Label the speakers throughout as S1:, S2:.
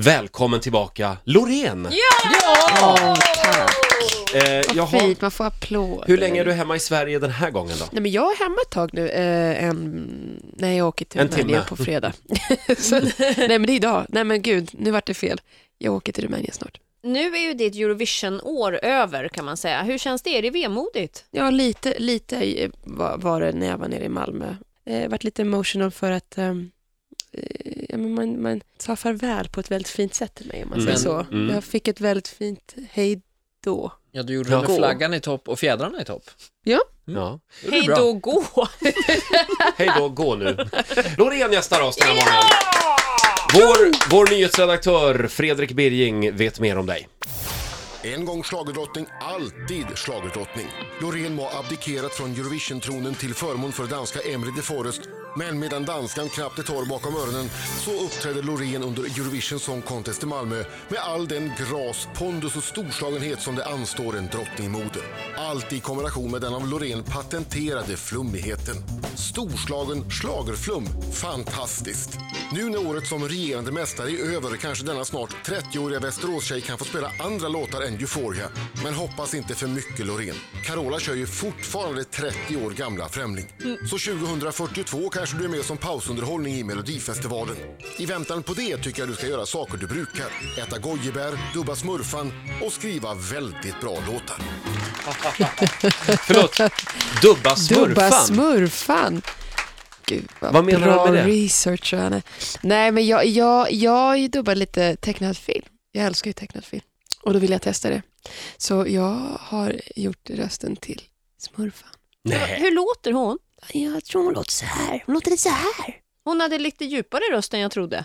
S1: Välkommen tillbaka, Loreen!
S2: Ja!
S1: Eh,
S2: Vad
S1: jaha,
S2: fint, man får applåder.
S1: hur länge är du hemma i Sverige den här gången då?
S2: Nej, men jag är hemma ett tag nu, eh, en, nej jag åker till
S1: En
S2: Rumänien
S1: timme.
S2: på fredag. Så, nej men det är idag, nej men gud, nu vart det fel. Jag åker till Rumänien snart.
S3: Nu är ju ditt Eurovision-år över kan man säga. Hur känns det? Är det vemodigt?
S2: Ja, lite, lite eh, var, var det när jag var nere i Malmö. Eh, Jag varit lite emotional för att ehm, eh, ja, men man, man sa farväl på ett väldigt fint sätt till mig om man säger
S4: Men-
S2: så.
S1: Mm.
S2: Jag fick ett väldigt fint hej då.
S4: Ja, du gjorde
S1: Ja.
S4: det med flaggan i topp och fjädrarna i topp.
S2: Mm.
S1: Ja.
S4: Det gjorde
S3: Hej
S4: du bra.
S3: då, gå!
S1: Hej då, gå nu. Loreen gästar oss den här morgonen. Vår, vår nyhetsredaktör Fredrik Birging vet mer om dig.
S5: En gång schlagerdrottning, alltid schlagerdrottning. Loreen må ha abdikerat från Eurovision-tronen till förmån för danska Emily de Forest. Men medan danskan knappt är torr bakom öronen så uppträder Loreen under Eurovision Song Contest i Malmö med all den gras, pondus och storslagenhet som det anstår en drottning i mode. Allt i kombination med den av Loreen patenterade flummigheten. Storslagen schlagerflum. Fantastiskt! Nu när året som regerande mästare är över kanske denna snart 30-åriga Västeråstjej kan få spela andra låtar än Euphoria. Men hoppas inte för mycket Loreen. Carola kör ju fortfarande 30 år gamla Främling. Så 2042 kanske du är med som pausunderhållning i Melodifestivalen. I väntan på det tycker jag du ska göra saker du brukar. Äta gojibär, dubba smurfan och skriva väldigt bra låtar.
S1: Förlåt, dubba smurfan.
S2: Dubba smurfan. Gud, vad,
S1: Vad menar
S2: bra
S1: du med det?
S2: research han är. Nej, men jag, jag, jag dubbar lite tecknad film. Jag älskar ju tecknad film. Och då vill jag testa det. Så jag har gjort rösten till smurfan.
S1: Nej.
S3: Hur låter hon?
S2: Jag tror hon låter så här. Hon låter lite så här.
S3: Hon hade lite djupare röst än jag trodde.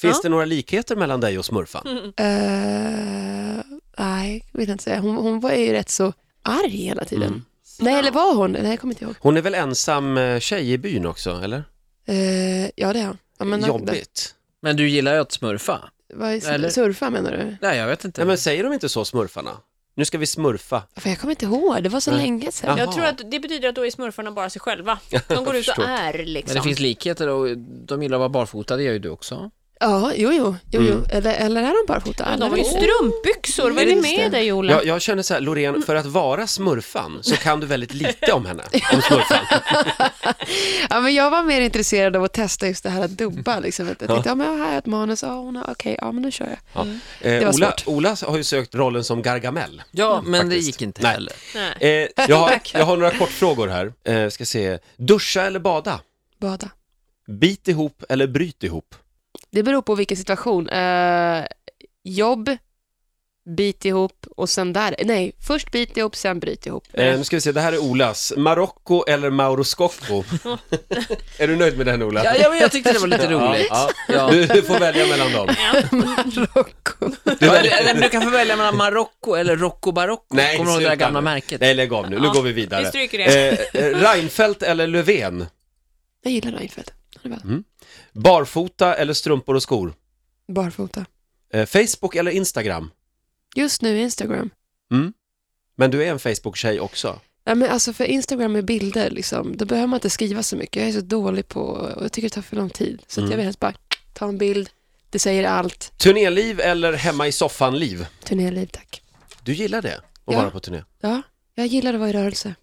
S1: Finns
S3: Ja.
S1: det några likheter mellan dig och smurfan?
S2: Mm. Eh, nej, vill jag inte säga. Hon, hon var ju rätt så arg hela tiden.
S1: Mm.
S2: Nej, eller var hon? Nej, jag kommer inte ihåg.
S1: Hon är väl ensam eh, tjej i byn också, eller?
S2: Eh, ja, det är hon. Ja, men,
S1: Jobbigt.
S4: Men du gillar ju att smurfa.
S2: Vad är,
S4: Eller-
S2: Surfa menar du?
S4: Nej, jag vet inte.
S1: Nej, men säger de inte så, smurfarna? Nu ska vi smurfa.
S2: För jag kommer inte ihåg, det var så
S1: Nej.
S2: länge sedan.
S1: Ja. Jaha.
S3: Jag tror att det betyder att då är smurfarna bara sig själva. De går ut och
S1: förstår.
S3: är liksom.
S4: Men det finns likheter och de gillar att vara barfota, det gör ju du också.
S2: Ja, jo, jo. jo, jo. Eller, eller är de barfota?
S3: Men
S2: Alla
S3: de har ju
S2: vet.
S3: strumpbyxor. Vad är det
S2: Just det.
S3: med dig, Ola?
S1: Jag, jag känner så här,
S2: Mm.
S1: Loreen, för att vara smurfan så kan du väldigt lite om henne, om smurfan.
S2: ja, men jag var mer intresserad av att testa just det här att dubba. Liksom. Jag tänkte, ja. men jag har ett manus, ja, hon har, okej, ja, men nu kör jag.
S1: Ja. Eh, Ola,
S2: var svårt.
S1: Ola har ju sökt rollen som Gargamel.
S4: Ja, men det
S1: faktiskt.
S4: gick inte
S1: Nej.
S4: heller.
S3: Nej.
S1: Eh, jag, har, jag har några kortfrågor här. Eh, ska se. Duscha eller bada?
S2: Bada.
S1: Bit ihop eller bryt ihop?
S2: Det beror på vilken situation. Eh, jobb, bit ihop och sen där. Nej, först bit ihop, sen bryt ihop.
S1: Eh, nu ska vi se, det här är Olas. Marocko eller Mauro Scocco? är du nöjd med den Ola?
S4: Ja, ja, men jag tyckte det var lite roligt.
S1: Ja,
S4: Ja.
S1: Du, du får välja mellan dem.
S2: Marocko.
S1: Du
S4: Ja,
S1: väljer-
S4: eller, eller du kan få välja mellan Marocko eller Rocco Barocco.
S1: Nej,
S4: Kommer du ihåg det där
S1: sluta
S4: gamla
S1: nu.
S4: märket?
S1: Nej, lägg av nu. Nu
S3: Ja,
S1: går vi vidare.
S3: vi stryker
S1: Eh, eh, Reinfeldt eller Löfven?
S2: Jag gillar Reinfeldt. Han är bra.
S1: Barfota eller strumpor och skor?
S2: Barfota.
S1: Eh, Facebook eller Instagram?
S2: Just nu Instagram.
S1: Men du är en Facebook-tjej också.
S2: Nej, men alltså för Instagram med bilder, liksom, då behöver man inte skriva så mycket. Jag är så dålig på, och jag tycker det tar för lång tid. Så att jag vill helst bara ta en bild, det säger allt.
S1: Turnéliv eller hemma i soffan-liv?
S2: Turnéliv, tack.
S1: Du gillar det? Att
S2: Ja.
S1: vara på turné?
S2: Ja, jag gillar att vara i rörelse.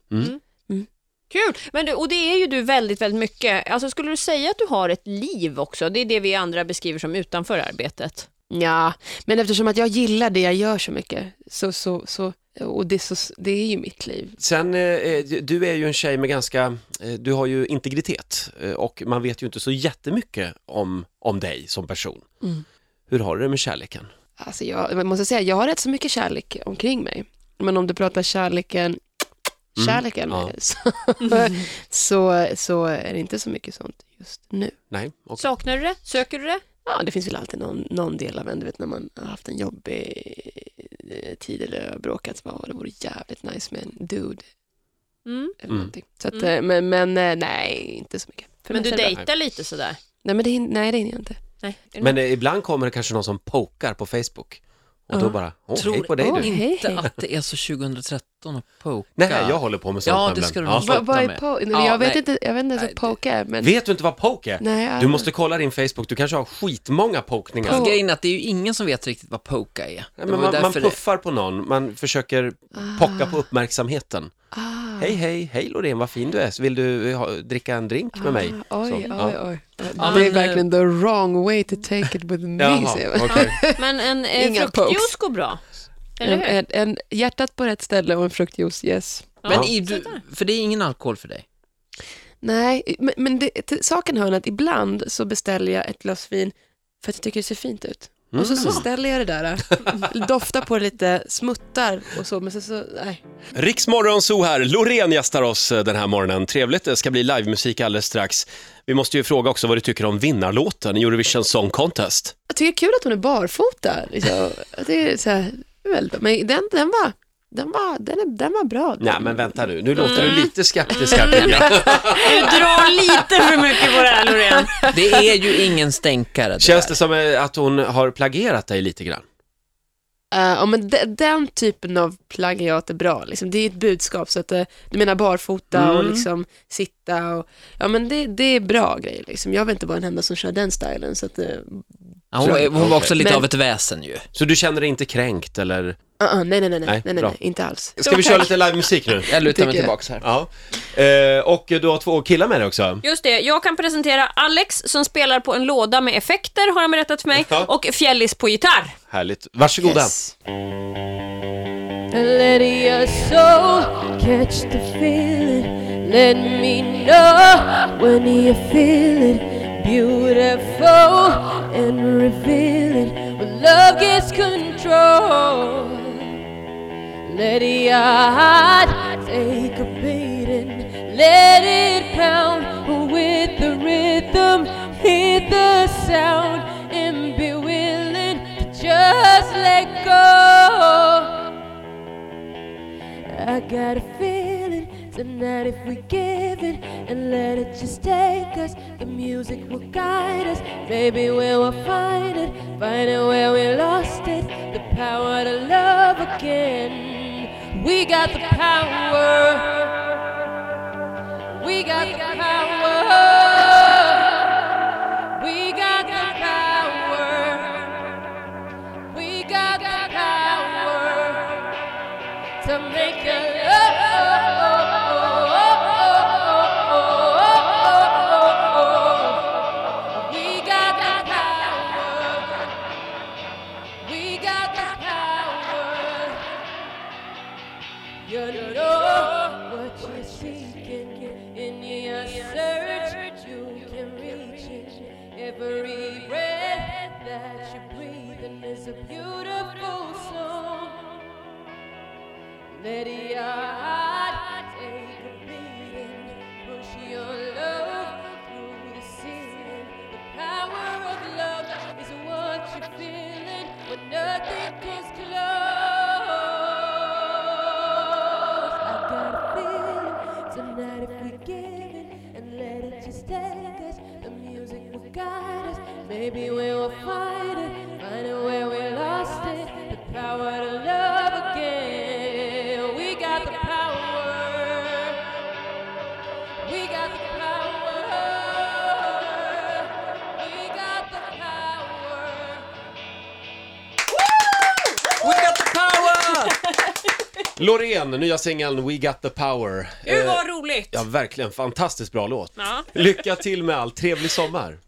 S3: Kul! Men du, och det är ju du väldigt, väldigt mycket. Alltså, skulle du säga att du har ett liv också? Det är det vi andra beskriver som utanför arbetet.
S2: Ja, men eftersom att jag gillar det jag gör så mycket, så, så, så, och det, så, det är ju mitt liv.
S1: Sen, eh, eh, du är ju en tjej med ganska, eh, du har ju integritet eh, och man vet ju inte så jättemycket om, om dig som person.
S4: Mm.
S1: Hur har du det med kärleken?
S2: Alltså jag, jag måste säga, jag har rätt så mycket kärlek omkring mig. Men om du pratar kärleken, kärleken,
S1: ja.
S2: så, så, så är det inte så mycket sånt just nu.
S1: Nej, och,
S3: Saknar du det? Söker du det?
S2: Ja, det finns väl alltid någon, någon del av en, du vet när man har haft en jobbig eh, tid eller har bråkat, så bara, "Åh, det vore jävligt nice med en dude
S3: Mm.
S2: eller någonting. Så att, eh, men, men eh, nej, inte så mycket. För
S3: Men
S2: mig
S3: du
S2: är det bra.
S3: dejtar lite sådär?
S2: Nej, men det, hin- nej, det hinner jag inte.
S3: Nej. Är det
S1: men eh, ibland kommer det kanske någon som pokar på Facebook Och då bara, åh,
S4: Tror-
S1: hej på dig
S2: Åh,
S1: du.
S2: hej,
S4: Inte
S2: hej.
S4: att det är så 2013 och poka.
S1: Nej, jag håller på med sånt
S4: Ja, det
S1: nämligen.
S4: ska du
S1: Ja.
S4: nog-
S2: Vad vad är
S4: med.
S2: po- nej,
S4: Ja,
S2: jag, vet
S4: nej.
S2: inte, jag vet inte ens
S4: Nej,
S2: vad poke är, men...
S1: Vet du inte vad poke är?
S2: Nej, jag-
S1: Du måste kolla din Facebook, du kanske har skitmånga pokaningar.
S2: Po-
S4: Alltså, Grejen är att det är ju ingen som vet riktigt vad poka är.
S1: Nej,
S4: Det
S1: men
S4: var ju
S1: man, man
S4: därför det-
S1: puffar på någon, man försöker
S4: Ah.
S1: pocka på uppmärksamheten.
S2: Ah,
S1: Hej, hej, hej Loreen, vad fin du är. Vill du eh, ha, dricka en drink med mig?
S2: Ah, oj,
S1: Så,
S2: oj,
S1: ja.
S2: oj, Det
S4: Ja,
S2: är
S3: eh,
S4: men,
S2: verkligen the wrong way to take it with me,
S1: Jaha,
S2: säger jag.
S1: okej.
S3: Men en eh,
S2: Inga
S3: fruktjuice
S2: pokes.
S3: går bra. Eller
S2: en,
S3: hur?
S2: en, en Hjärtat på rätt ställe och en fruktjuice, yes.
S4: Men
S1: Ja.
S4: i, du, för det är ingen alkohol för dig?
S2: Nej, men, men det, till saken hör att ibland så beställer jag ett glas vin för att jag tycker det ser fint ut. Och så, så ställer jag det där, äh, doftar på det lite, smuttar och så, men sen så, nej.
S1: Riksmorgon så här, Loreen gästar oss eh, den här morgonen. Trevligt, det ska bli livemusik alldeles strax. Vi måste ju fråga också vad du tycker om vinnarlåten i Eurovision Song Contest.
S2: Jag tycker det är kul att hon är barfota. Liksom. Det är så här, väl, men den, den, var, den, var, den, är, den var bra.
S1: Nej men vänta nu, nu låter
S2: Mm.
S1: du lite skeptisk här Pia.
S3: Du drar lite för mycket på det här Loreen.
S4: Det är ju ingen stänkare. det
S1: Känns
S4: där.
S1: det som eh, att hon har plagierat dig lite grann?
S2: Eh, ja, men de, den typen av plagiat är bra. Liksom. Det är ett budskap. Så att, eh, du menar barfota och liksom sitta. Och, ja, men det, det är bra grejer. Liksom. Jag vill inte vara den enda som kör den stilen. Så att, eh,
S4: Ja, hon, var- hon var också lite
S2: Men-
S4: av ett väsen ju.
S1: Så du känner dig inte kränkt eller?
S2: uh-uh, nej, nej,
S1: Nej,
S2: nej, nej, nej,
S1: bra.
S2: nej, inte alls.
S1: Ska vi köra lite livemusik nu?
S4: Jag
S2: Tycker
S4: lutar mig
S2: jag.
S4: tillbaks här.
S1: Ja. Eh, och du har två killar med dig också.
S3: Just det, jag kan presentera Alex som spelar på en låda med effekter, har han berättat för mig,
S1: Ja.
S3: och Fjällis på gitarr.
S1: Härligt. Varsågoda.
S2: Yes.
S6: Let your soul catch the feeling. Let me know when you feel it. Beautiful and revealing. When love gets control. Let your heart take a beating. Let it pound with the rhythm. Hear the sound and be willing to just let go. I got a feeling tonight if we give it and let it just take us, the music will guide us. Maybe we will find it, find it where we lost it, the power to love again. We got the power. We got the power. We got the power. We got the power to make a love. We got the power. We got the power. You know what you're seeking in your search. You can reach it. Every breath that you're breathing is a beautiful song. Let your heart take a beating, push your love through the ceiling. The power of love is what you're feeling when nothing comes close. I got a feeling tonight if we give it and let it just take us, the music will guide us. Maybe we will find it, find it where we lost it. The power to love again. We got the power. We got the power. We got the power.
S4: We got the power!
S1: Loreen, nya singeln We Got The Power.
S3: Gud
S1: Eh,
S3: vad roligt!
S1: Ja, verkligen fantastiskt bra låt.
S3: Ja.
S1: Lycka till med allt, trevlig sommar.